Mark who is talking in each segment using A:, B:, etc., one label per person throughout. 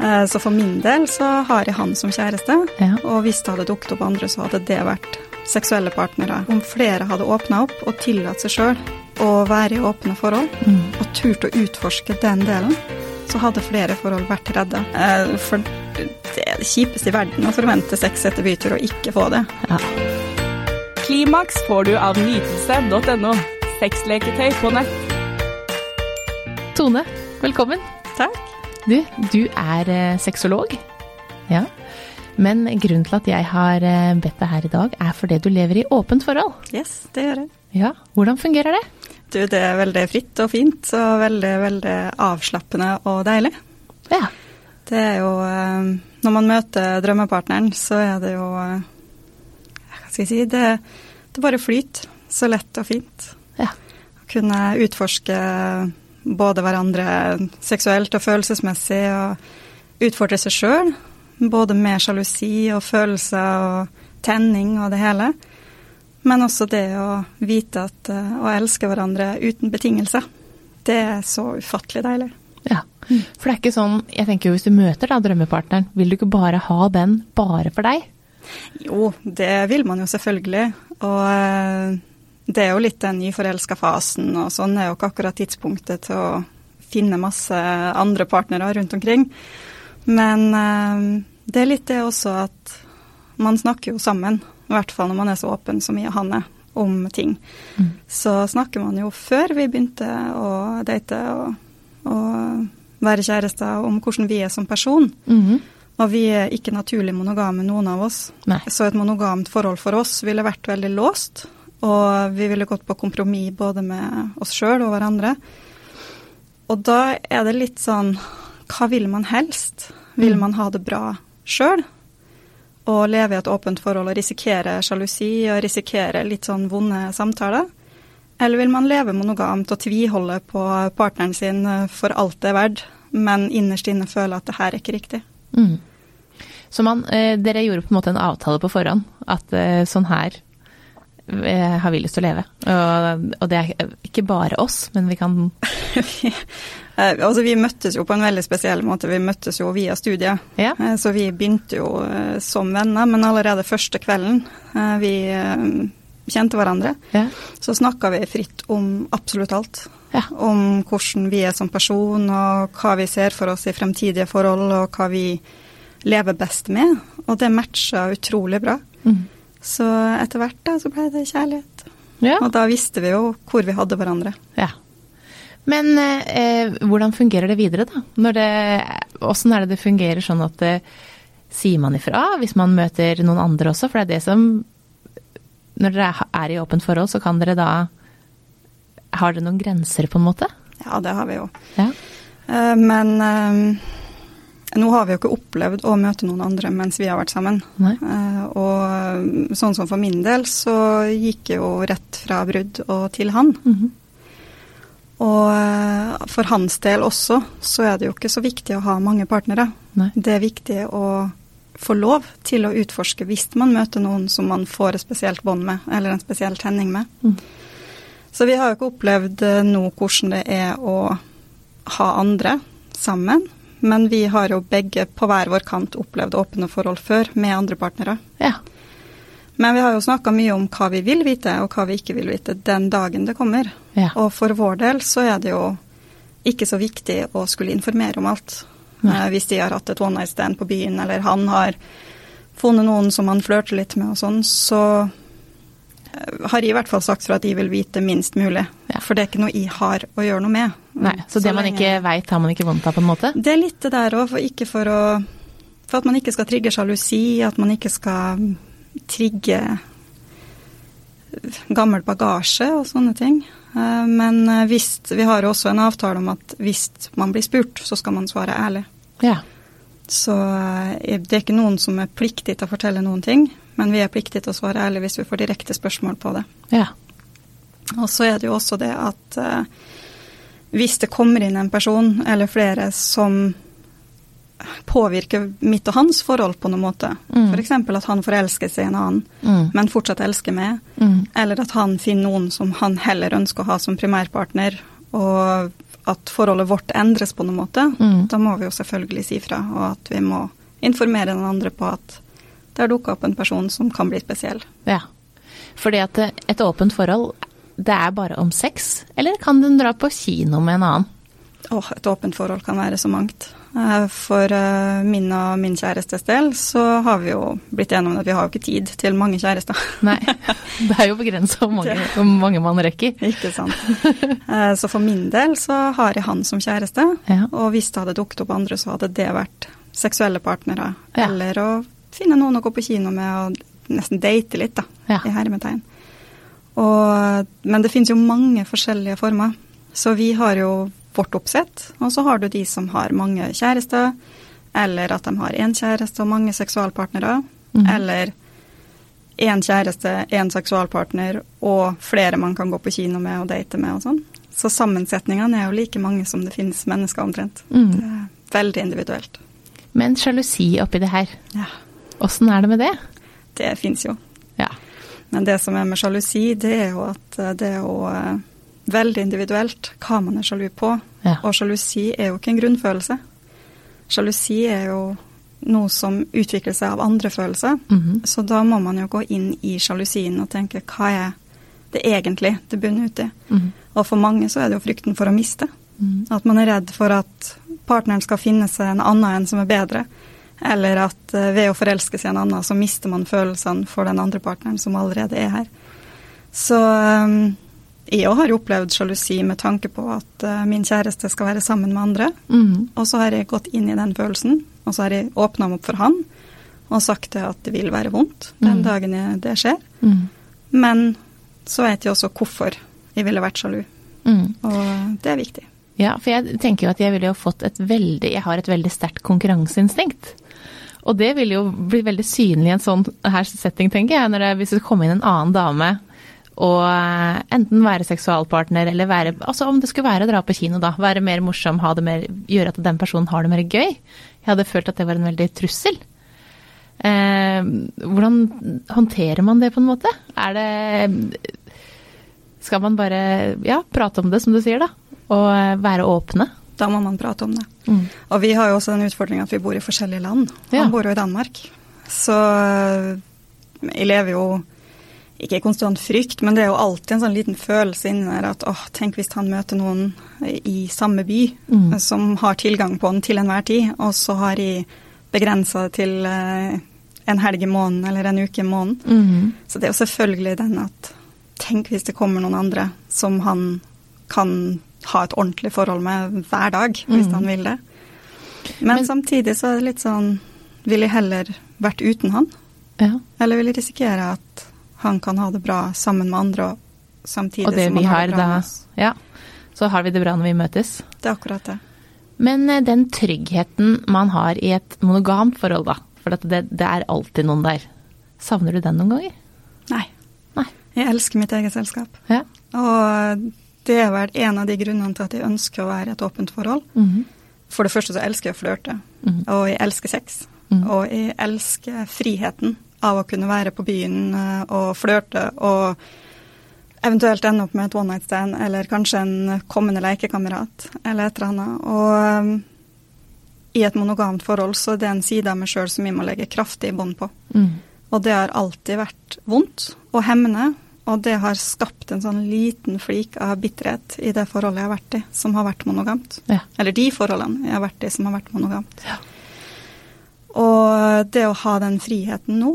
A: Eh, Så for min del så har jeg han som kjæreste,
B: Ja.
A: og hvis det hadde dukket opp andre, så hadde det vært seksuelle partnere. Om flere hadde åpna opp og tillatt seg sjøl å være i åpne forhold,
B: Mm.
A: og turt å utforske den delen, så hadde flere forhold vært redda. Eh, For det er det kjipeste i verden å forvente sex etter bytur og ikke få det.
C: Klimaks får du av nytelse.no. Sexleketøy på nett.
B: Tone, velkommen.
A: Takk.
B: Du, du er eh, sexolog. Ja. Men grunnen til at jeg har eh, bedt deg her i dag, er fordi du lever i åpent forhold.
A: Yes, det gjør jeg.
B: Ja. Hvordan fungerer det?
A: Du, det er veldig fritt og fint, og veldig, veldig avslappende og deilig.
B: Ja.
A: Det er jo eh, Når man møter drømmepartneren, så er det jo eh, Hva skal jeg si Det, det bare flyter. Så lett og fint.
B: ja.
A: Å kunne utforske både hverandre seksuelt og følelsesmessig, og utfordre seg sjøl. Både med sjalusi og følelser og tenning og det hele. Men også det å vite at eh, å elske hverandre uten betingelser. Det er så ufattelig deilig.
B: Ja. For det er ikke sånn, jeg tenker jo hvis du møter da drømmepartneren, vil du ikke bare ha den bare for deg?
A: Jo, det vil man jo selvfølgelig. Og eh, det er jo litt den nyforelska fasen, og sånn er jo ikke akkurat tidspunktet til å finne masse andre partnere rundt omkring. Men eh, det er litt det også at man snakker jo sammen, i hvert fall når man er så åpen som jeg og han er, om ting.
B: Mm.
A: Så snakker man jo før vi begynte å date og, og være kjærester, om hvordan vi er som person.
B: Mhm.
A: Og vi er ikke naturlig monogame, noen av oss.
B: Nei.
A: Så et monogamt forhold for oss ville vært veldig låst. Og vi ville gått på kompromiss både med oss sjøl og hverandre. Og da er det litt sånn Hva vil man helst? Vil man ha det bra sjøl? Og leve i et åpent forhold og risikere sjalusi og risikere litt sånn vonde samtaler? Eller vil man leve monogamt og tviholde på partneren sin eh, for alt det er verdt, men innerst inne føle at det her er ikke riktig?
B: Mm. Så man, eh, dere gjorde på en måte en avtale på forhånd, at eh, sånn her eh, har vi lyst til å leve. Og, og det er eh, ikke bare oss, men vi kan
A: vi, eh, altså vi møttes jo på en veldig spesiell måte. Vi møttes jo via studiet.
B: Ja.
A: Eh, Så vi begynte jo eh, som venner, men allerede første kvelden eh, vi eh, kjente hverandre,
B: Ja.
A: så snakka vi fritt om absolutt alt.
B: Ja.
A: Om hvordan vi er som person, og hva vi ser for oss i fremtidige forhold, og hva vi lever best med. Og det matcha utrolig bra.
B: Mm.
A: Så etter hvert da, så ble det kjærlighet.
B: Ja.
A: Og da visste vi jo hvor vi hadde hverandre.
B: ja. Men eh, eh, hvordan fungerer det videre, da? Når det, hvordan er det det fungerer sånn at eh, sier man ifra hvis man møter noen andre også? For det er det som Når dere er- er i åpent forhold, så kan dere da Har dere noen grenser, på en måte?
A: Ja, det har vi jo.
B: Ja.
A: Eh, Men eh, nå har vi jo ikke opplevd å møte noen andre mens vi har vært sammen.
B: Nei.
A: Eh, og eh, sånn som for min del, så gikk jeg jo rett fra brudd og til han.
B: Mhm.
A: Og eh, for hans del også, så er det jo ikke så viktig å ha mange partnere.
B: Nei.
A: Det er viktig å få lov til å utforske hvis man møter noen som man får et spesielt bånd med, eller en spesiell tenning med.
B: Mm.
A: Så vi har jo ikke opplevd eh, nå hvordan det er å ha andre sammen. Men vi har jo begge på hver vår kant opplevd åpne forhold før med andre partnere.
B: Ja.
A: Men vi har jo snakka mye om hva vi vil vite, og hva vi ikke vil vite, den dagen det kommer.
B: Ja.
A: Og for vår del så er det jo ikke så viktig å skulle informere om alt.
B: Nei.
A: Eh, Hvis de har hatt et one night stand på byen, eller han har funnet noen som han flørter litt med og sånn, så eh, har jeg i hvert fall sagt fra at jeg vil vite minst mulig.
B: Ja.
A: For det er ikke noe jeg har å gjøre noe med.
B: Nei, så, det man
A: lenge-
B: ikke veit, har man ikke vondt av, på en måte?
A: det er litt det der òg, for, ikke for, å- for at man ikke skal trigge sjalusi, at man ikke skal trigge gammel bagasje og sånne ting. Eh, Men eh, hvis, vi har jo også en avtale om at hvis man blir spurt, så skal man svare ærlig.
B: Ja.
A: Så eh, det er ikke noen som er pliktig til å fortelle noen ting, men vi er pliktig til å svare ærlig hvis vi får direkte spørsmål på det.
B: Ja.
A: Og så er det jo også det at eh, hvis det kommer inn en person eller flere som påvirker mitt og hans forhold på noen måte,
B: Mm.
A: f.eks. at han forelsker seg i en annen,
B: Mm.
A: men fortsatt elsker meg,
B: Mm.
A: eller at han finner noen som han heller ønsker å ha som primærpartner, og at forholdet vårt endres på noen måte,
B: Mm.
A: da må vi jo selvfølgelig si fra, og at vi må informere den andre på at det har dukka opp en person som kan bli spesiell.
B: Ja. Fordi at eh, et åpent forhold, det er bare om sex? Eller kan den dra på kino med en annen?
A: Åh, et åpent forhold kan være så mangt. Eh, For eh, min og min kjærestes del så har vi jo blitt enige om at vi har jo ikke tid til mange kjærester.
B: Nei. Det er jo begrensa hvor mange,
A: Det-
B: hvor mange man rekker.
A: ikke sant. Eh, Så for min del så har jeg han som kjæreste.
B: Ja.
A: Og hvis det hadde dukket opp andre, så hadde det vært seksuelle partnere.
B: Ja.
A: Eller å finne noen å gå på kino med og nesten date litt, da.
B: Ja.
A: I hermetegn. Og, men det finnes jo mange forskjellige former. Så vi har jo vårt oppsett, og så har du de som har mange kjærester, eller at de har én kjæreste og mange seksualpartnere,
B: Mhm.
A: eller én kjæreste, én seksualpartner og flere man kan gå på kino med og date med og sånn. Så sammensetningene er jo like mange som det finnes mennesker omtrent.
B: Mm.
A: Det er veldig individuelt.
B: Men sjalusi oppi det her,
A: Ja.
B: åssen er det med det?
A: Det fins jo.
B: Ja.
A: Men det som er med sjalusi, det er jo at eh, det er jo eh, veldig individuelt hva man er sjalu på.
B: Ja.
A: Og sjalusi er jo ikke en grunnfølelse. Sjalusi er jo noe som utvikler seg av andre følelser.
B: Mhm.
A: Så da må man jo gå inn i sjalusien og tenke hva er det egentlig det bunner ut i.
B: Mhm.
A: Og for mange så er det jo frykten for å miste.
B: Mhm.
A: At man er redd for at partneren skal finne seg en annen en som er bedre. Eller at eh, ved å forelske seg i en annen, så mister man følelsene for den andre partneren som allerede er her. Så eh, jeg òg har jo opplevd sjalusi med tanke på at eh, min kjæreste skal være sammen med andre.
B: Mhm.
A: Og så har jeg gått inn i den følelsen, og så har jeg åpna meg opp for han og sagt det at det vil være vondt den
B: Mm.
A: dagen jeg- det skjer.
B: Mhm.
A: Men så vet jeg også hvorfor jeg ville vært sjalu,
B: Mhm.
A: og det er viktig.
B: Ja, for jeg tenker jo at jeg ville jo fått et veldig Jeg har et veldig sterkt konkurranseinstinkt. Og det ville jo bli veldig synlig i en sånn her setting, tenker jeg. Når det, hvis det kom inn en annen dame og eh, enten være seksualpartner eller være Altså om det skulle være å dra på kino, da. Være mer morsom, ha det mer, gjøre at den personen har det mer gøy. Jeg hadde følt at det var en veldig trussel. Eh, hvordan håndterer man det, på en måte? Er det Skal man bare ja, prate om det, som du sier, da? Og eh, være åpne?
A: Da må man prate om det.
B: Mm.
A: Og vi har jo også den utfordringen at vi bor i forskjellige land.
B: Ja.
A: Han bor jo i Danmark. Så øh, jeg lever jo ikke i konstant frykt, men det er jo alltid en sånn liten følelse inni der at åh, tenk hvis han møter noen i samme by
B: Mm.
A: som har tilgang på den til enhver tid, og så har de begrensa det til øh, en helg i måneden eller en uke i måneden.
B: Mhm.
A: Så det er jo selvfølgelig den at tenk hvis det kommer noen andre som han kan ha et ordentlig forhold med hver dag, hvis
B: Mm.
A: han vil det. Men,
B: Men-
A: samtidig så er det litt sånn Vil jeg heller vært uten han?
B: Ja.
A: Eller vil jeg risikere at han kan ha det bra sammen med andre, og samtidig
B: Og det
A: som
B: vi
A: han har
B: har
A: det bra med
B: da
A: oss?
B: Ja. Så har vi det bra når vi møtes.
A: Det er akkurat det.
B: Men eh, den tryggheten man har i et monogamt forhold, da. For at det, det er alltid noen der. Savner du den noen ganger?
A: Nei.
B: Nei.
A: Jeg elsker mitt eget selskap.
B: Ja.
A: Og det er vel en av de grunnene til at jeg ønsker å være i et åpent forhold.
B: Mhm.
A: For det første så elsker jeg å flørte,
B: Mhm.
A: og jeg elsker sex.
B: Mhm.
A: Og jeg elsker friheten av å kunne være på byen eh, og flørte og eventuelt ende opp med et one night stand eller kanskje en kommende lekekamerat eller et eller annet. Og eh, i et monogamt forhold så er det en side av meg sjøl som jeg må legge kraftig bånd på.
B: Mhm.
A: Og det har alltid vært vondt og hemmende, og det har skapt en sånn liten flik av bitterhet i det forholdet jeg har vært i, som har vært monogamt.
B: Ja.
A: Eller de forholdene jeg har vært i som har vært monogamt. Og det å ha den friheten nå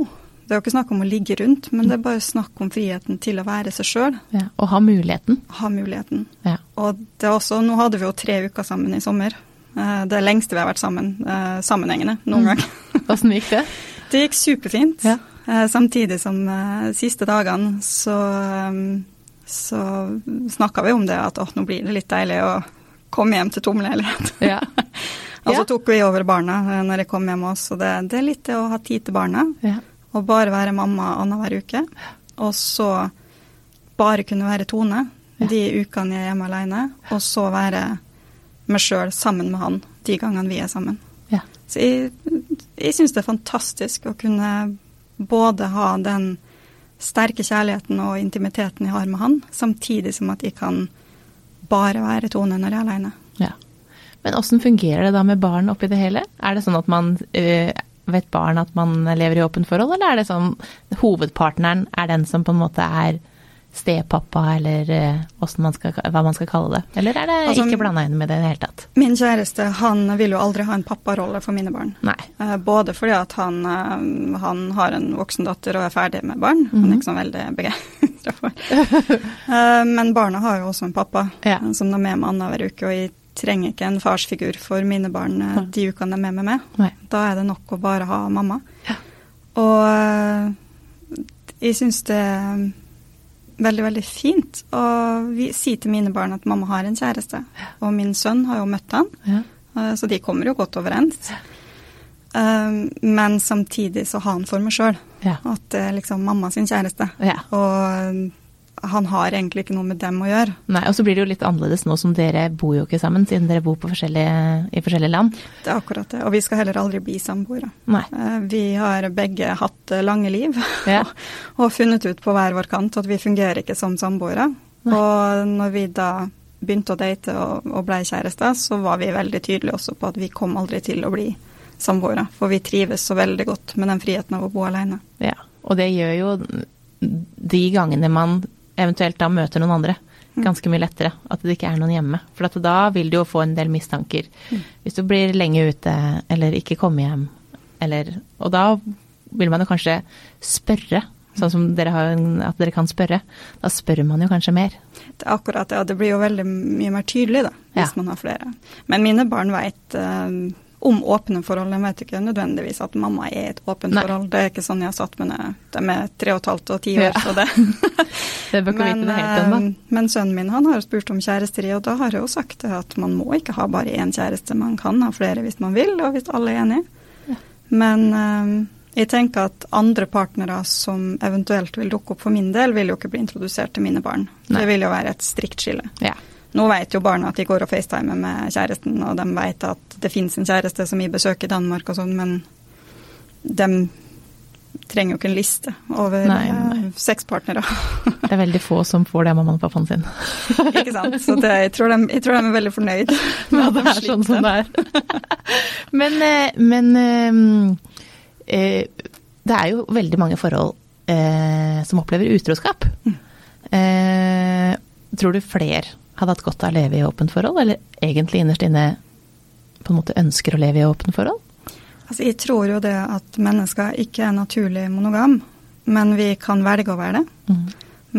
A: Det er jo ikke snakk om å ligge rundt, men det er bare snakk om friheten til å være seg sjøl,
B: ja. Og ha muligheten.
A: ha muligheten.
B: Ja.
A: Og det er også, nå hadde vi jo tre uker sammen i sommer. Eh, Det lengste vi har vært sammen eh, sammenhengende noen gang.
B: Åssen gikk det?
A: Det gikk superfint.
B: Mm. Ja.
A: Eh, Samtidig som eh, siste dagene så, um, så snakka vi om det at åh, nå blir det litt deilig å komme hjem til tom leilighet.
B: Ja.
A: Og
B: Ja.
A: så tok vi over barna eh, når jeg kom hjem også. Det, det er litt det å ha tid til barna
B: ja.
A: og bare være mamma annenhver uke. Og så bare kunne være Tone
B: Ja.
A: de ukene jeg er hjemme alene, og så være meg sjøl sammen med han de gangene vi er sammen.
B: ja.
A: Så jeg, jeg syns det er fantastisk å kunne både ha den sterke kjærligheten og intimiteten jeg har med han, samtidig som at jeg kan bare være Tone når jeg er alene.
B: Ja. Men åssen fungerer det da med barn oppi det hele? Er det sånn at man eh, vet barn at man lever i åpent forhold, eller er det sånn hovedpartneren er den som på en måte er stepappa, eller eh, hvordan man skal, hva man skal kalle det? Eller er det
A: Altså,
B: ikke blanda inn med det i det hele tatt?
A: Min kjæreste han vil jo aldri ha en papparolle for mine barn.
B: Nei.
A: Eh, Både fordi at han, eh, han har en voksen datter og er ferdig med barn.
B: Mhm.
A: Han er ikke sånn veldig begeistra for. Eh, Men barna har jo også en pappa
B: Ja.
A: eh, som de er med annenhver uke. Og jeg trenger ikke en farsfigur for mine barn eh, de ukene de er med meg.
B: Nei.
A: Da er det nok å bare ha mamma.
B: Ja.
A: Og eh, jeg syns det er veldig, veldig fint å vi- si til mine barn at mamma har en kjæreste. Og min sønn har jo møtt han,
B: Ja.
A: eh, så de kommer jo godt overens. Eh, Men samtidig så har han for meg sjøl.
B: Ja.
A: At det er liksom mamma sin kjæreste.
B: Ja.
A: Og eh, han har egentlig ikke noe med dem å gjøre.
B: Nei, og så blir det jo litt annerledes nå som dere bor jo ikke sammen, siden dere bor på forskjellige, i forskjellige land.
A: Det er akkurat det. Og vi skal heller aldri bli samboere.
B: Nei.
A: Eh, Vi har begge hatt eh, lange liv
B: Ja.
A: og, og funnet ut på hver vår kant at vi fungerer ikke som samboere.
B: Nei.
A: Og når vi da begynte å date og, og blei kjærester, så var vi veldig tydelige også på at vi kom aldri til å bli samboere. For vi trives så veldig godt med den friheten av å bo alene.
B: Ja, og det gjør jo de gangene man eventuelt da møter noen andre,
A: Mm.
B: ganske mye lettere. At det ikke er noen hjemme. For at da vil du jo få en del mistanker.
A: Mm.
B: Hvis du blir lenge ute eller ikke kommer hjem, eller Og da vil man jo kanskje spørre, sånn som dere har en, at dere kan spørre. Da spør man jo kanskje mer.
A: Det er akkurat det, og det blir jo veldig mye mer tydelig da, hvis
B: Ja.
A: man har flere. Men mine barn vet eh, om åpne forhold. De vet ikke nødvendigvis at mamma er i et åpent
B: Nei.
A: forhold. Det er ikke sånn jeg har satt med det. De er tre og et halvt og ti år,
B: Ja.
A: så det
B: Det bør ikke
A: men,
B: vite det helt ennå.
A: eh, men sønnen min han har spurt om kjærester i, og da har jeg jo sagt det at man må ikke ha bare én kjæreste. Man kan ha flere hvis man vil, og hvis alle er enige. Men eh, jeg tenker at andre partnere som eventuelt vil dukke opp for min del, vil jo ikke bli introdusert til mine barn.
B: Nei.
A: Det vil jo være et strikt skille.
B: Ja.
A: Nå vet jo barna at de går og facetimer med kjæresten, og de vet at det fins en kjæreste som jeg besøker i Danmark og sånn, men de trenger jo ikke en liste over
B: Nei, nei,
A: eh, sexpartnere.
B: Det er veldig få som får det av mammaen og pappaen sin.
A: ikke sant? Så det, jeg, tror de, jeg tror de er veldig fornøyd med
B: Ja,
A: at
B: det
A: de
B: er sånn
A: slipper
B: som
A: det.
B: det er. men eh, men eh, eh, det er jo veldig mange forhold eh, som opplever utroskap. Eh, tror du fler hadde hatt godt av å leve i åpent forhold, eller egentlig innerst inne på en måte ønsker å leve i åpent forhold?
A: Altså, jeg tror jo det at mennesker ikke er naturlig monogam, men vi kan velge å være det.
B: Mm.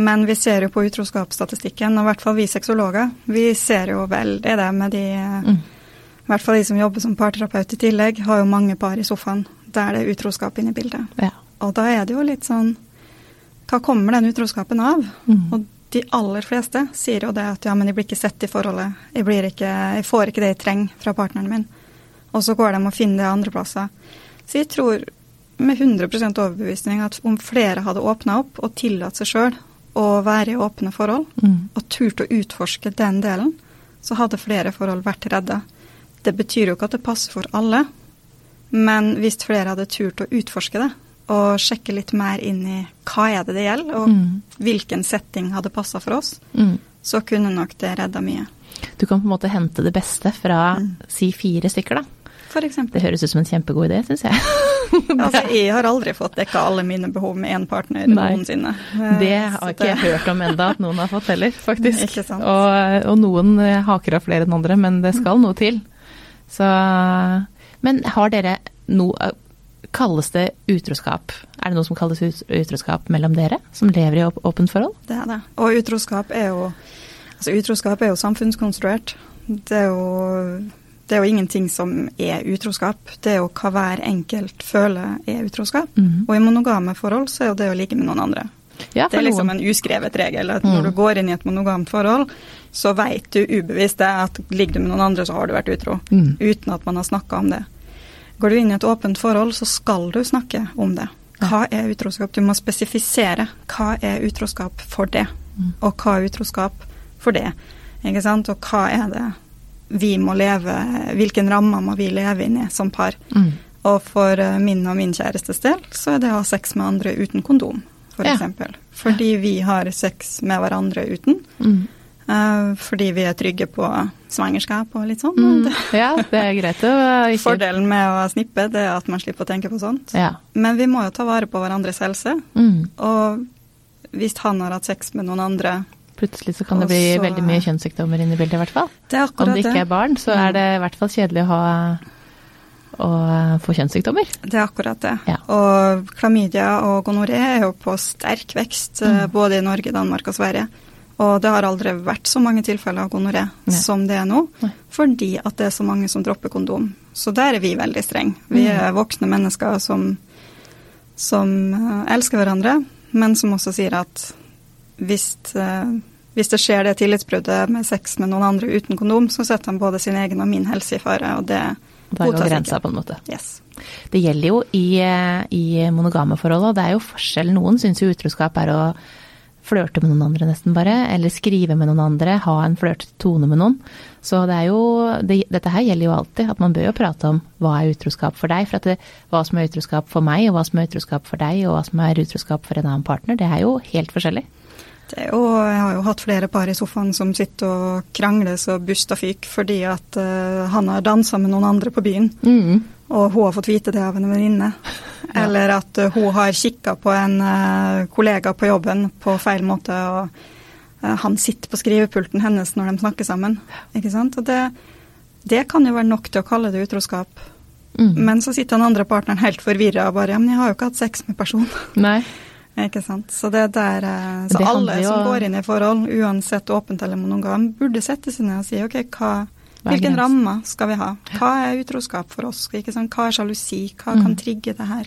A: Men vi ser jo på utroskapsstatistikken, og i hvert fall vi sexologer, vi ser jo veldig det med de eh,
B: Mm.
A: I hvert fall de som jobber som parterapeut i tillegg, har jo mange par i sofaen der det er utroskap inne i bildet.
B: Ja.
A: Og da er det jo litt sånn Hva kommer den utroskapen av?
B: Mhm.
A: Og de aller fleste sier jo det at ja, men jeg blir ikke sett i forholdet. Jeg, blir ikke, jeg får ikke det jeg trenger fra partneren min. Og så går de og finner det andre plasser. Så jeg tror med 100 overbevisning at om flere hadde åpna opp og tillatt seg sjøl å være i åpne forhold,
B: Mm.
A: og turt å utforske den delen, så hadde flere forhold vært redda. Det betyr jo ikke at det passer for alle, men hvis flere hadde turt å utforske det, og sjekke litt mer inn i hva er det det gjelder, og
B: Mm.
A: hvilken setting hadde passa for oss,
B: Mm.
A: så kunne nok det redda mye.
B: Du kan på en måte hente det beste fra
A: Mm.
B: si fire stykker, da.
A: For eksempel.
B: Det høres ut som en kjempegod idé, syns jeg.
A: Altså, jeg har aldri fått dekka alle mine behov med én partner
B: Nei.
A: noensinne.
B: Det
A: Eh, så
B: har ikke jeg hørt om enda at noen har fått heller, faktisk.
A: Ikke sant.
B: Og, og noen eh, haker av flere enn andre, men det skal noe til. Så, men har dere noe Kalles det utroskap? Er det noe som kalles ut- utroskap mellom dere, som lever i åp- åpent forhold?
A: Det er det. Og utroskap er jo, altså utroskap er jo samfunnskonstruert. Det er jo, det er jo ingenting som er utroskap. Det er jo hva hver enkelt føler er utroskap.
B: Mhm.
A: Og i monogame forhold så er jo det å ligge med noen andre.
B: Ja,
A: Mm-hmm. Det
B: for
A: er liksom
B: noen.
A: en uskrevet regel at
B: Mm.
A: når du går inn i et monogamt forhold, så veit du ubevisst det at ligger du med noen andre, så har du vært utro.
B: Mm.
A: Uten at man har snakka om det. Går du inn i et åpent forhold, så skal du snakke om det. Hva er utroskap? Du må spesifisere. Hva er utroskap for det?
B: Mm.
A: Og hva er utroskap for det? Ikke sant? Og hva er det vi må leve Hvilken ramme må vi leve inn i som par?
B: Mm.
A: Og for eh, min og min kjærestes del, så er det å ha sex med andre uten kondom, f.eks.
B: Ja.
A: eksempel. Fordi vi har sex med hverandre uten.
B: Mm.
A: Eh, eh, fordi vi er trygge på svangerskap og litt sånn.
B: Mm.
A: Det,
B: Ja, det er greit å ikke
A: fordelen med å snippe det er at man slipper å tenke på sånt.
B: Ja.
A: Men vi må jo ta vare på hverandres helse.
B: Mm.
A: Og hvis han har hatt sex med noen andre
B: Plutselig så kan det
A: Og
B: bli
A: så-
B: veldig mye kjønnssykdommer inne i bildet, i hvert fall.
A: Det er
B: Om
A: akkurat
B: det
A: det. Mm.
B: ikke er barn, så er det i hvert fall kjedelig å ha å få kjønnssykdommer.
A: Det er akkurat det.
B: Ja.
A: Og klamydia og gonoré er jo på sterk vekst eh,
B: Mm.
A: både i Norge, Danmark og Sverige. Og det har aldri vært så mange tilfeller av gonoré
B: Nei.
A: som det er nå,
B: Nei.
A: fordi at det er så mange som dropper kondom. Så der er vi veldig strenge. Vi
B: Mm.
A: er voksne mennesker som, som eh, elsker hverandre, men som også sier at hvis, eh, hvis det skjer det tillitsbruddet med sex med noen andre uten kondom, så setter han både sin egen og min helse i fare, og det
B: Der går
A: godtas
B: grensa,
A: ikke.
B: på en måte.
A: Yes.
B: Det gjelder jo i, eh, i monogame forhold, og det er jo forskjell. Noen syns jo utroskap er å flørte med noen andre, nesten bare. Eller skrive med noen andre, ha en flørtete tone med noen. Så det er jo det, Dette her gjelder jo alltid, at man bør jo prate om hva er utroskap for deg. For at det, hva som er utroskap for meg, og hva som er utroskap for deg, og hva som er utroskap for en annen partner, det er jo helt forskjellig.
A: Det er jo, jeg har jo hatt flere par i sofaen som sitter og krangles og buster fyk fordi at eh, han har dansa med noen andre på byen, og hun har fått vite det av en venninne. Eller at eh, hun har kikka på en eh, kollega på jobben på feil måte, og eh, han sitter på skrivepulten hennes når de snakker sammen. Ikke sant? Og det, det kan jo være nok til å kalle det utroskap.
B: Mm.
A: Men så sitter den andre partneren helt forvirra og bare Ja, men jeg har jo ikke hatt sex med personen.
B: Nei.
A: Ikke sant. Så det er der eh, Så
B: Det handler
A: alle
B: jo-
A: som går inn i forhold, uansett åpent eller monogam, burde sette seg ned og si OK, hva,
B: er
A: hvilken
B: grensen?
A: ramme skal vi ha? Hva er utroskap for oss? Ikke sant? Hva er sjalusi? Hva
B: Mm.
A: kan trigge det her?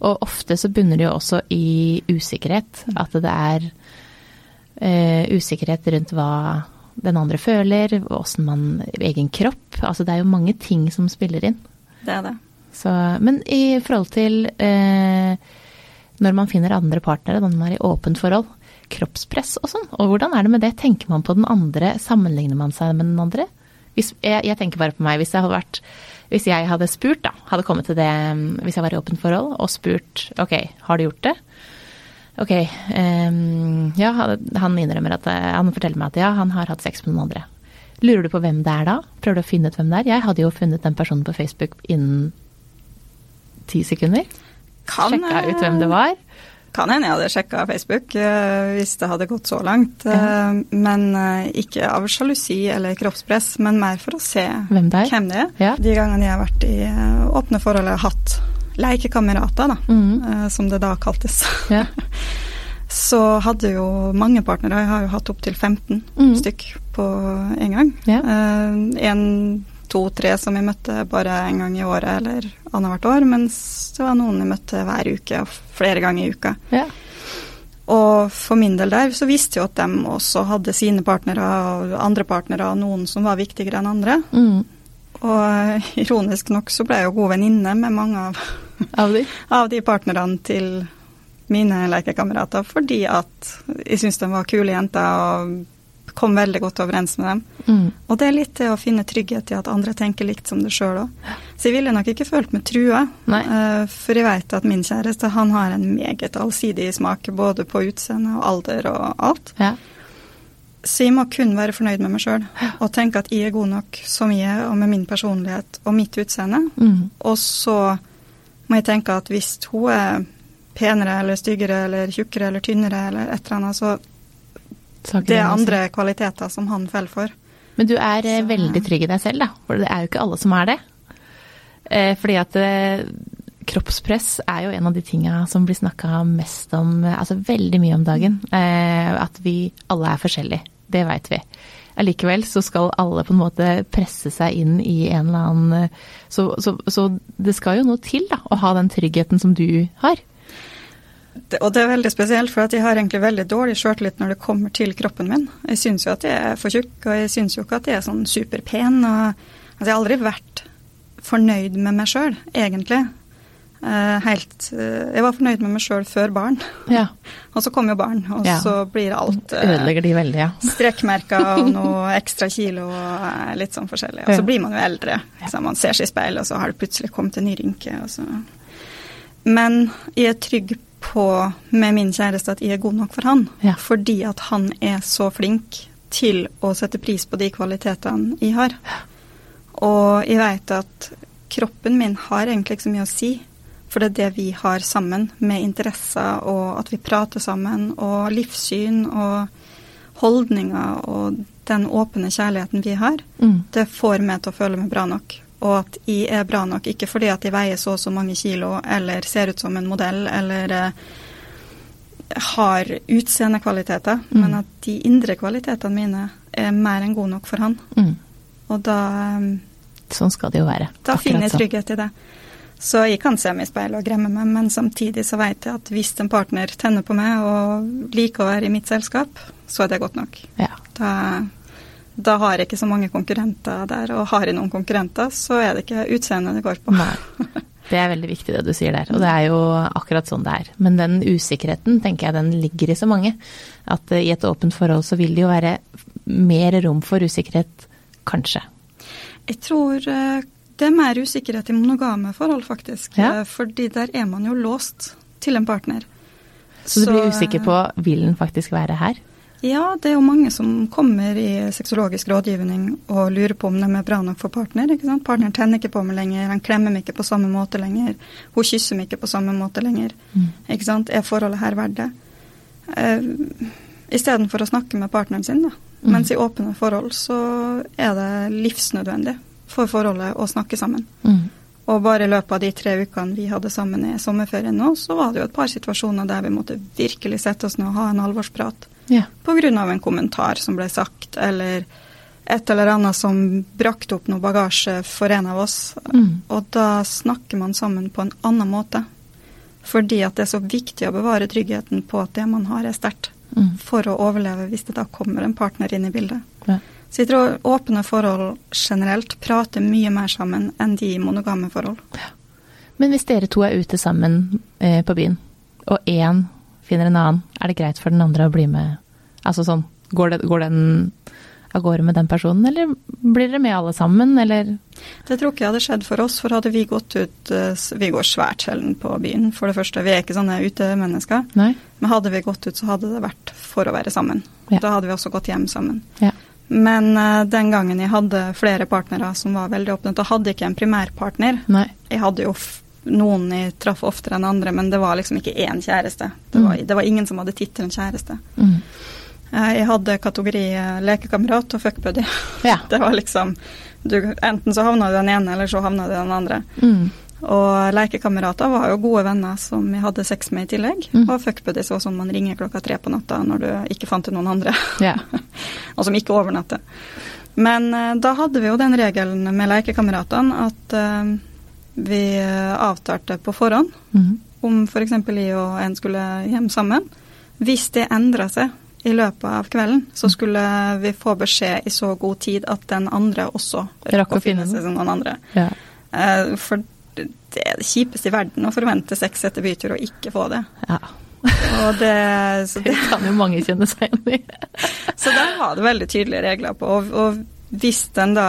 B: Og ofte så bunner det jo også i usikkerhet. At det er eh, usikkerhet rundt hva den andre føler, åssen man Egen kropp. Altså det er jo mange ting som spiller inn.
A: Det er det.
B: Så, men i forhold til eh, når man finner andre partnere, når man er i åpent forhold, kroppspress og sånn, og hvordan er det med det? Tenker man på den andre, sammenligner man seg med den andre? Hvis, jeg, jeg tenker bare på meg, hvis jeg hadde vært hvis jeg hadde spurt, da, hadde kommet til det mm, hvis jeg var i åpent forhold, og spurt ok, har du gjort det? Ok, ehm, ja, han innrømmer at eh, han forteller meg at ja, han har hatt sex med noen andre. Lurer du på hvem det er da? Prøver du å finne ut hvem det er? Jeg hadde jo funnet den personen på Facebook innen ti sekunder.
A: Kan,
B: Sjekka
A: eh,
B: ut hvem det var.
A: Kan hende jeg hadde sjekka Facebook eh, hvis det hadde gått så langt. eh, Men eh, ikke av sjalusi eller kroppspress, men mer for å se
B: Hvem det er?
A: hvem det er.
B: Ja.
A: De gangene jeg har vært i eh, åpne forhold og hatt lekekamerater, da,
B: Mhm.
A: eh, som det da kaltes,
B: Ja.
A: så hadde jo mange partnere, jeg har jo hatt opptil 15
B: Mhm.
A: stykk på en gang.
B: Ja.
A: Eh, En, to, tre som jeg møtte bare en gang i året eller annethvert år, mens det var noen jeg møtte hver uke og flere ganger i uka.
B: Ja.
A: Og for min del der så visste jeg jo at de også hadde sine partnere og andre partnere og noen som var viktigere enn andre.
B: Mm.
A: Og eh, ironisk nok så ble jeg jo god venninne med mange av,
B: Av de?
A: av de partnerne til mine lekekamerater fordi at jeg syntes de var kule jenter og kom veldig godt overens med dem.
B: Mm.
A: Og det er litt det å finne trygghet i at andre tenker likt som det sjøl òg. Så jeg ville nok ikke følt meg trua,
B: Nei.
A: eh, for jeg veit at min kjæreste han har en meget allsidig smak både på utseende og alder og alt.
B: Ja.
A: Så jeg må kun være fornøyd med meg sjøl og tenke at jeg er god nok som jeg er, og med min personlighet og mitt utseende.
B: Mm.
A: Og så må jeg tenke at hvis hun er penere eller styggere eller tjukkere eller tynnere eller et eller annet, så
B: Så har ikke
A: det er
B: noe å si.
A: andre kvaliteter som han faller for.
B: Men du er eh,
A: Så-
B: veldig trygg i deg selv, da. For det er jo ikke alle som er det. Eh, fordi at eh, kroppspress er jo en av de tinga som blir snakka mest om, eh, altså veldig mye om dagen. Eh, at vi alle er forskjellige. Det veit vi. Allikevel så skal alle på en måte presse seg inn i en eller annen eh, Så, så, så det skal jo noe til, da, å ha den tryggheten som du har.
A: Det, og det er veldig spesielt, for at jeg har egentlig veldig dårlig sjøltillit når det kommer til kroppen min. Jeg syns jo at jeg er for tjukk, og jeg syns jo ikke at jeg er sånn superpen. Og, altså, jeg har aldri vært fornøyd med meg sjøl, egentlig. Eh, helt, eh, jeg var fornøyd med meg sjøl før barn,
B: Ja.
A: og så kom jo barn, og
B: Ja.
A: så blir alt eh,
B: Ødelegger de veldig, ja.
A: Strekmerker og noe ekstra kilo og eh, litt sånn forskjellig. Og
B: Ja.
A: så blir man jo eldre. Så man ser seg i speilet, og så har det plutselig kommet en ny rynke. Og så. Men jeg er trygg på med min kjæreste at jeg er god nok for han.
B: Ja.
A: Fordi at han er så flink til å sette pris på de kvalitetene jeg har. Og jeg vet at kroppen min har egentlig ikke så mye å si, for det er det vi har sammen, med interesser og at vi prater sammen, og livssyn og holdninger og den åpne kjærligheten vi har.
B: Mm.
A: Det får meg til å føle meg bra nok. Og at jeg er bra nok, ikke fordi at jeg veier så og så mange kilo eller ser ut som en modell eller eh, har utseendekvaliteter,
B: Mm.
A: men at de indre kvalitetene mine er mer enn gode nok for han.
B: Mm.
A: Og da, eh,
B: Sånn skal det jo være.
A: da
B: Akkurat
A: finner jeg
B: sånn.
A: trygghet i det. Så jeg kan se meg i speilet og gremme meg, men samtidig så vet jeg at hvis en partner tenner på meg og liker å være i mitt selskap, så er det godt nok.
B: Ja.
A: Da, da har jeg ikke så mange konkurrenter der, og har jeg noen konkurrenter, så er det ikke utseendet det går på.
B: Nei. Det er veldig viktig det du sier der, og det er jo akkurat sånn det er. Men den usikkerheten tenker jeg den ligger i så mange. At eh, i et åpent forhold så vil det jo være mer rom for usikkerhet, kanskje.
A: Jeg tror eh, det er mer usikkerhet i monogame forhold, faktisk.
B: Ja.
A: Eh, Fordi der er man jo låst til en partner.
B: Så du blir
A: eh,
B: usikker på vil den faktisk være her?
A: Ja, det er jo mange som kommer i sexologisk rådgivning og lurer på om de er bra nok for partner. ikke sant? Partneren tenner ikke på meg lenger, han klemmer meg ikke på samme måte lenger. Hun kysser meg ikke på samme måte lenger.
B: Mm.
A: Ikke sant? Er forholdet her verdt det? Eh, Istedenfor å snakke med partneren sin, da.
B: Mm.
A: Mens i åpne forhold så er det livsnødvendig for forholdet å snakke sammen.
B: Mm.
A: Og bare i løpet av de tre ukene vi hadde sammen i sommerferien nå, så var det jo et par situasjoner der vi måtte virkelig sette oss ned og ha en alvorsprat
B: Ja.
A: pga. en kommentar som ble sagt, eller et eller annet som brakte opp noe bagasje for en av oss.
B: Mm.
A: Og da snakker man sammen på en annen måte. Fordi at det er så viktig å bevare tryggheten på at det man har, er sterkt.
B: Mm.
A: For å overleve hvis det da kommer en partner inn i bildet.
B: Ja.
A: Så jeg tror åpne forhold generelt prater mye mer sammen enn de i monogame forhold.
B: Men hvis dere to er ute sammen eh, på byen, og én finner en annen, er det greit for den andre å bli med? Altså sånn, går, det, går den av gårde med den personen, eller blir dere med alle sammen, eller?
A: Det tror ikke jeg hadde skjedd for oss, for hadde vi gått ut eh, s- Vi går svært sjelden på byen, for det første. Vi er ikke sånne utemennesker.
B: Nei?
A: Men hadde vi gått ut, så hadde det vært for å være sammen.
B: Ja.
A: Da hadde vi også gått hjem sammen.
B: Ja.
A: Men eh, den gangen jeg hadde flere partnere som var veldig åpne, da hadde jeg ikke en primærpartner.
B: Nei.
A: Jeg hadde jo f noen jeg traff oftere enn andre, men det var liksom ikke én kjæreste. Det var,
B: Mm.
A: det var ingen som hadde tittelen kjæreste.
B: Mm.
A: Eh, Jeg hadde kategori eh, lekekamerat og fuckbuddy.
B: Ja.
A: Det var liksom du, Enten så havna du den ene, eller så havna du den andre.
B: Mm.
A: Og lekekamerater var jo gode venner som jeg hadde sex med i tillegg.
B: Mm.
A: Og fuckbuddies var sånn man ringer klokka tre på natta når du ikke fant noen andre,
B: Ja.
A: og som ikke overnatter. Men eh, da hadde vi jo den regelen med lekekameratene at eh, vi eh, avtalte på forhånd
B: Mm.
A: om f.eks. jeg og en skulle hjem sammen. Hvis det endra seg i løpet av kvelden, så skulle vi få beskjed i så god tid at den andre også
B: Rakk å finne
A: seg
B: den.
A: som noen andre.
B: ja.
A: Eh, For det er det kjipeste i verden å forvente sex etter bytur og ikke få det.
B: ja.
A: Og det, så,
B: Det
A: det
B: kan jo mange kjenne seg igjen i.
A: så der var det veldig tydelige regler på. Og, og hvis den da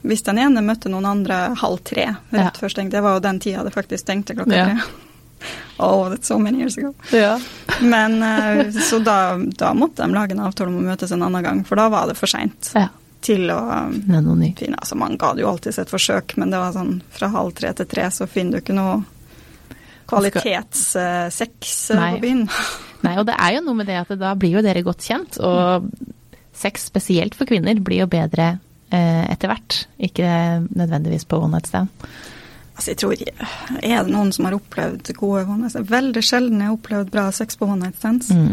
A: hvis den ene møtte noen andre halv tre rett
B: Ja.
A: før stenging, det var jo den tida det faktisk stengte klokka
B: Ja.
A: tre. Oh, that's so many years ago.
B: Ja.
A: Men eh, så da, da måtte de lage en avtale om å møtes en annen gang, for da var det for seint
B: ja.
A: til å
B: Det er noe nytt.
A: finne Altså, man ga det jo alltids et forsøk, men det var sånn fra halv tre til tre, så finner du ikke noe kvalitetssex eh, på
B: Nei.
A: byen.
B: Nei, og det er jo noe med det at da blir jo dere godt kjent, og sex spesielt for kvinner blir jo bedre eh, etter hvert. Ikke nødvendigvis på one night stand.
A: Altså, jeg tror Er det noen som har opplevd gode one night stands? Veldig sjelden jeg har opplevd bra sex på one night stands.
B: Mm.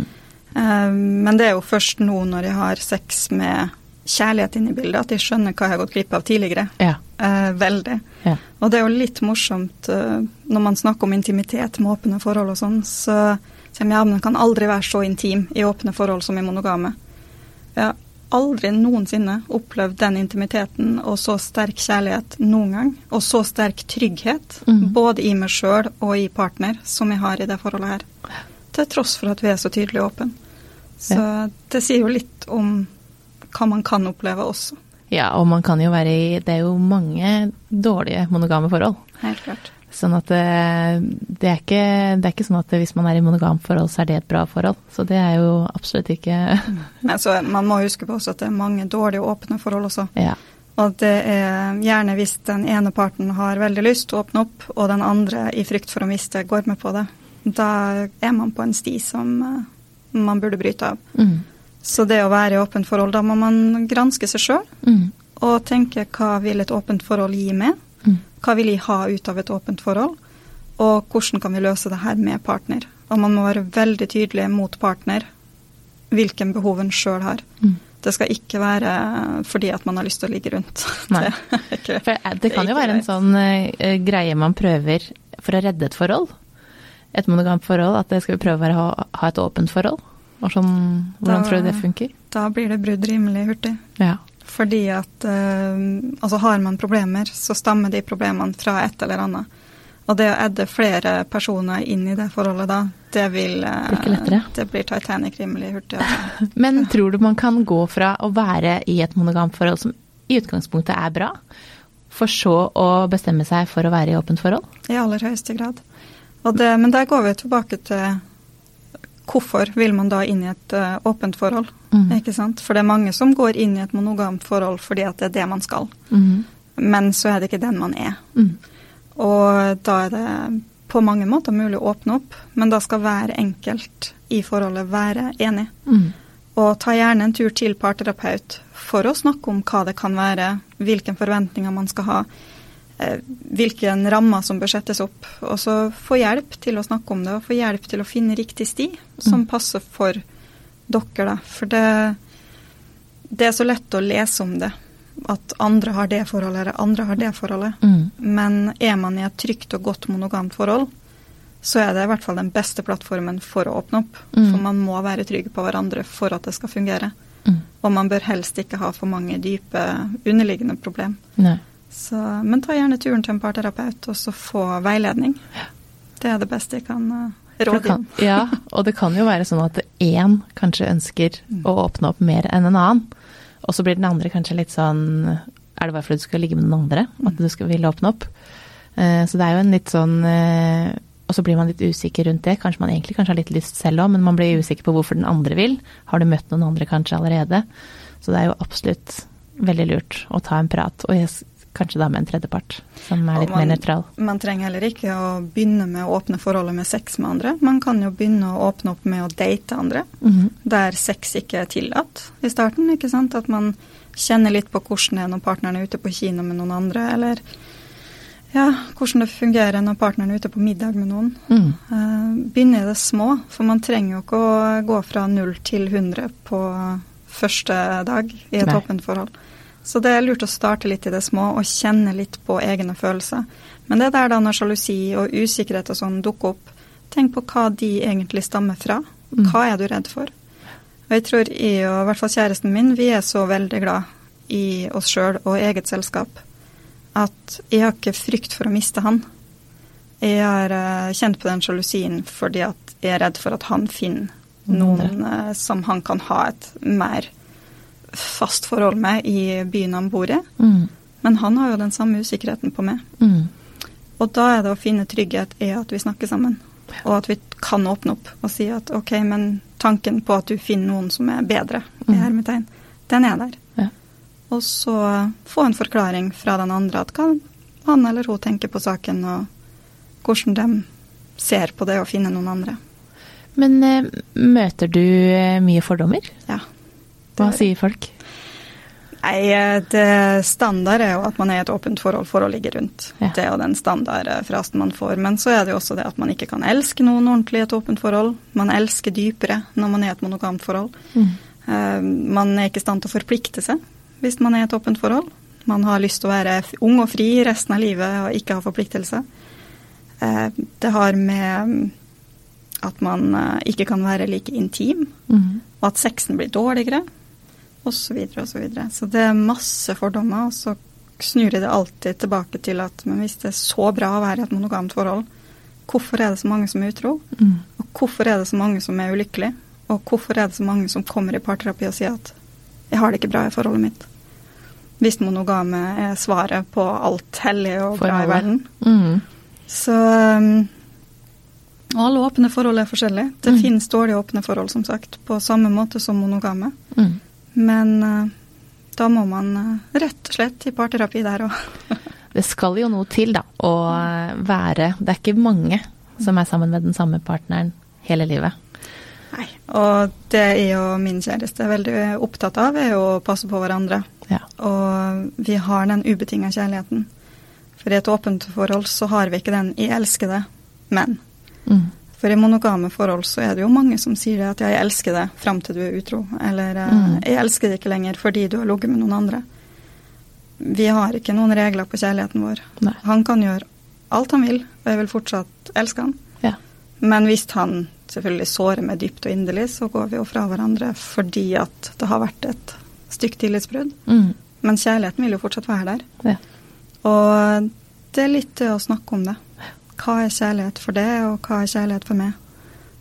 A: Eh, men det er jo først nå når jeg har sex med kjærlighet inne i bildet, at jeg skjønner hva jeg har gått glipp av tidligere.
B: Ja.
A: Eh, veldig.
B: ja.
A: Og det er jo litt morsomt eh, når man snakker om intimitet med åpne forhold og sånn, så sier man ja, men den kan aldri være så intim i åpne forhold som i monogame. Jeg har aldri noensinne opplevd den intimiteten og så sterk kjærlighet noen gang, og så sterk trygghet,
B: Mhm.
A: både i meg sjøl og i partner, som jeg har i det forholdet her. Til tross for at vi er så tydelig åpne. Så det sier jo litt om hva man kan oppleve også.
B: Ja, og man kan jo være i Det er jo mange dårlige monogame forhold.
A: Helt klart.
B: Sånn at eh, det er ikke, det er ikke sånn at hvis man er i monogamt forhold, så er det et bra forhold. Så det er jo absolutt ikke
A: Men så, man må huske på også at det er mange dårlige åpne forhold også.
B: Ja.
A: Og det er gjerne hvis den ene parten har veldig lyst til å åpne opp, og den andre i frykt for å miste går med på det. Da er man på en sti som eh, man burde bryte av.
B: Mm.
A: Så det å være i åpent forhold, da må man granske seg sjøl
B: Mm.
A: og tenke hva vil et åpent forhold gi meg?
B: Mm.
A: Hva vil jeg ha ut av et åpent forhold? Og hvordan kan vi løse det her med partner? Og man må være veldig tydelig mot partner hvilken behov en sjøl har.
B: Mm.
A: Det skal ikke være fordi at man har lyst til å ligge rundt.
B: Nei.
A: Det, er ikke-
B: For eh, det
A: er
B: kan jo
A: ikke
B: være en
A: greit.
B: sånn eh, greie man prøver for å redde et forhold. Et monogamt forhold. At det skal vi prøve å være- ha, ha et åpent forhold. Og sånn, hvordan
A: Da-
B: tror du det funker?
A: Da blir det brudd rimelig hurtig.
B: Ja.
A: Fordi at eh, altså har man problemer, så stammer de problemene fra et eller annet. Og det å edde flere personer inn i det forholdet da, det vil eh,
B: Blir ikke lettere.
A: Det blir Titanic rimelig hurtig. Altså.
B: Men tror du man kan gå fra å være i et monogamt forhold som i utgangspunktet er bra, for så å bestemme seg for å være i åpent forhold?
A: I aller høyeste grad. Og det, men der går vi tilbake til hvorfor vil man da inn i et eh, åpent forhold?
B: Mhm.
A: Ikke sant? For det er mange som går inn i et monogamt forhold fordi at det er det man skal.
B: Mhm.
A: Men så er det ikke den man er.
B: Mm.
A: Og da er det på mange måter mulig å åpne opp, men da skal hver enkelt i forholdet være enig.
B: Mm.
A: Og ta gjerne en tur til parterapeut for å snakke om hva det kan være, hvilke forventninger man skal ha, eh, hvilken rammer som bør settes opp. Og så få hjelp til å snakke om det, og få hjelp til å finne riktig sti som
B: Mm.
A: passer for dere. Da. For det, det er så lett å lese om det, at andre har det forholdet, eller andre har det forholdet.
B: Mm.
A: Men er man i et trygt og godt monogamt forhold, så er det i hvert fall den beste plattformen for å åpne opp.
B: Mm.
A: For man må være trygge på hverandre for at det skal fungere.
B: Mm.
A: Og man bør helst ikke ha for mange dype underliggende problem.
B: Nei.
A: Så, men ta gjerne turen til en parterapeut, og så få veiledning. Det er det beste jeg kan eh,
B: For det
A: råde.
B: kan, ja, og det kan jo være sånn at én kanskje ønsker
A: Mm.
B: å åpne opp mer enn en annen, og så blir den andre kanskje litt sånn Er det bare fordi du skal ligge med den andre
A: Mm.
B: at du skal ville åpne opp? Eh, Så det er jo en litt sånn eh, Og så blir man litt usikker rundt det. Kanskje man egentlig kanskje har litt lyst selv òg, men man blir usikker på hvorfor den andre vil. Har du møtt noen andre kanskje allerede? Så det er jo absolutt veldig lurt å ta en prat, og jeg s- kanskje da med en tredjepart som er
A: Og
B: litt mer nøytral.
A: Man trenger heller ikke å begynne med å åpne forholdet med sex med andre. Man kan jo begynne å åpne opp med å date andre.
B: Mhm.
A: der sex ikke er tillatt i starten. ikke sant? At man kjenner litt på hvordan det er når partneren er ute på kino med noen andre, eller ja, hvordan det fungerer når partneren er ute på middag med noen.
B: Mm.
A: Eh, Begynne i det små, for man trenger jo ikke å gå fra null til 100 på første dag i et
B: Nei.
A: åpent forhold. Så det er lurt å starte litt i det små og kjenne litt på egne følelser. Men det er der da når sjalusi og usikkerhet og sånn dukker opp, tenk på hva de egentlig stammer fra.
B: Mm.
A: Hva er du redd for? Og jeg tror jeg og i hvert fall kjæresten min, vi er så veldig glad i oss sjøl og eget selskap at jeg har ikke frykt for å miste han. Jeg har eh, kjent på den sjalusien fordi at jeg er redd for at han finner
B: Noen
A: noen eh, som han kan ha et mer fast forhold med i byen han bor i.
B: Mm.
A: Men han har jo den samme usikkerheten på meg.
B: Mm.
A: Og da er det å finne trygghet i at vi snakker sammen, og at vi kan åpne opp og si at OK, men tanken på at du finner noen som er bedre, i
B: Mm.
A: hermetegn, den er der.
B: Ja.
A: Og så få en forklaring fra den andre at hva han eller hun tenker på saken, og hvordan de ser på det å finne noen andre.
B: Men eh, møter du eh, mye fordommer?
A: Ja.
B: Hva sier folk?
A: Nei, eh, det standard er jo at man er i et åpent forhold for å ligge rundt.
B: Ja.
A: Det er jo den standardfrasen man får. Men så er det jo også det at man ikke kan elske noen ordentlig i et åpent forhold. Man elsker dypere når man er i et monogamt forhold.
B: Mm.
A: Eh, Man er ikke i stand til å forplikte seg hvis man er i et åpent forhold. Man har lyst til å være f- ung og fri resten av livet og ikke ha forpliktelse. Eh, Det har med mm, at man eh, ikke kan være like intim
B: Mm.
A: og at sexen blir dårligere, osv. Så, videre, og så, videre. så det er masse fordommer, og så snur de det alltid tilbake til at men hvis det er så bra å være i et monogamt forhold, hvorfor er det så mange som er utro?
B: Mm.
A: Og hvorfor er det så mange som er ulykkelige? Og hvorfor er det så mange som kommer i parterapi og sier at jeg har det ikke bra i forholdet mitt? hvis monogame er eh, svaret på alt hellig og bra i
B: Forholdet.
A: verden.
B: Mm.
A: Så um, og alle åpne forhold er forskjellige. Det
B: Mm.
A: finnes dårlige åpne forhold, som sagt, på samme måte som monogame.
B: Mm.
A: Men eh, da må man eh, rett og slett i parterapi der òg.
B: Det skal jo noe til, da, å eh, være Det er ikke mange som er sammen med den samme partneren hele livet.
A: Nei. Og det jeg og min kjæreste er veldig opptatt av, er jo å passe på hverandre.
B: Ja.
A: Og vi har den ubetinga kjærligheten. For i et åpent forhold så har vi ikke den 'jeg elsker det, men'.
B: Mm.
A: For i monogame forhold så er det jo mange som sier det at 'jeg elsker det fram til du er utro', eller eh,
B: Mm.
A: 'jeg elsker det ikke lenger fordi du har ligget med noen andre'. Vi har ikke noen regler på kjærligheten vår.
B: Nei.
A: Han kan gjøre alt han vil, og jeg vil fortsatt elske han.
B: Ja.
A: Men hvis han selvfølgelig sårer meg dypt og inderlig, så går vi jo fra hverandre fordi at det har vært et stygt tillitsbrudd.
B: Mm.
A: Men kjærligheten vil jo fortsatt være der.
B: ja.
A: Og det er litt det å snakke om det. Hva er kjærlighet for det, og hva er kjærlighet for meg?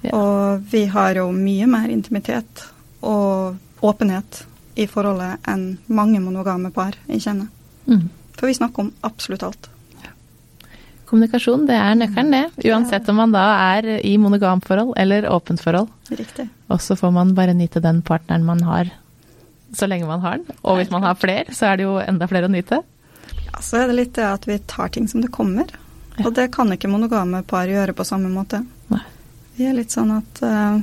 B: Ja.
A: Og vi har jo mye mer intimitet og åpenhet i forholdet enn mange monogame par jeg kjenner.
B: Mm.
A: For vi snakker om absolutt alt.
B: Kommunikasjon, det er nøkkelen, det. Uansett om man da er i monogamt forhold eller åpent forhold.
A: Riktig.
B: Og så får man bare nyte den partneren man har, så lenge man har den. Og hvis man har flere, så er det jo enda flere å nyte.
A: Ja, så er det litt det at vi tar ting som det kommer.
B: Ja.
A: Og det kan ikke monogame par gjøre på samme måte.
B: Nei.
A: Vi er litt sånn at eh,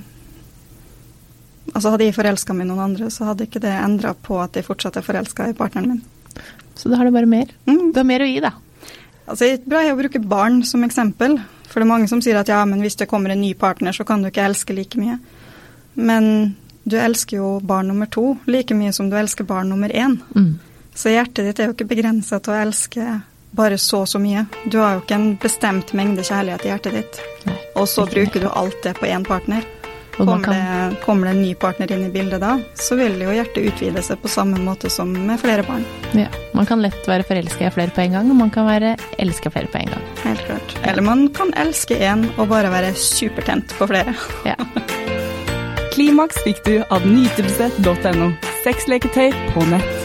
A: Altså hadde jeg forelska meg i noen andre, så hadde ikke det endra på at jeg fortsatt er forelska i partneren min.
B: Så da har du bare mer.
A: Mm.
B: Du har mer å gi, da.
A: Altså, det er bra å bruke barn som eksempel, for det er mange som sier at ja, men hvis det kommer en ny partner, så kan du ikke elske like mye. Men du elsker jo barn nummer to like mye som du elsker barn nummer én.
B: Mm.
A: Så hjertet ditt er jo ikke begrensa til å elske bare så og så mye. Du har jo ikke en bestemt mengde kjærlighet i hjertet ditt.
B: Nei.
A: Og så bruker du alt det på én partner.
B: Og man
A: Kommer det, kommer det en ny partner inn i bildet da, så vil jo hjertet utvide seg på samme måte som med flere barn.
B: Ja. Man kan lett være forelska i flere på en gang, og man kan være elska flere på en gang.
A: Helt klart. Eller man kan elske én og bare være supertent på flere.
B: Ja.
C: Klimaks fikk du av nytebesett.no. Sexleketøy på nett.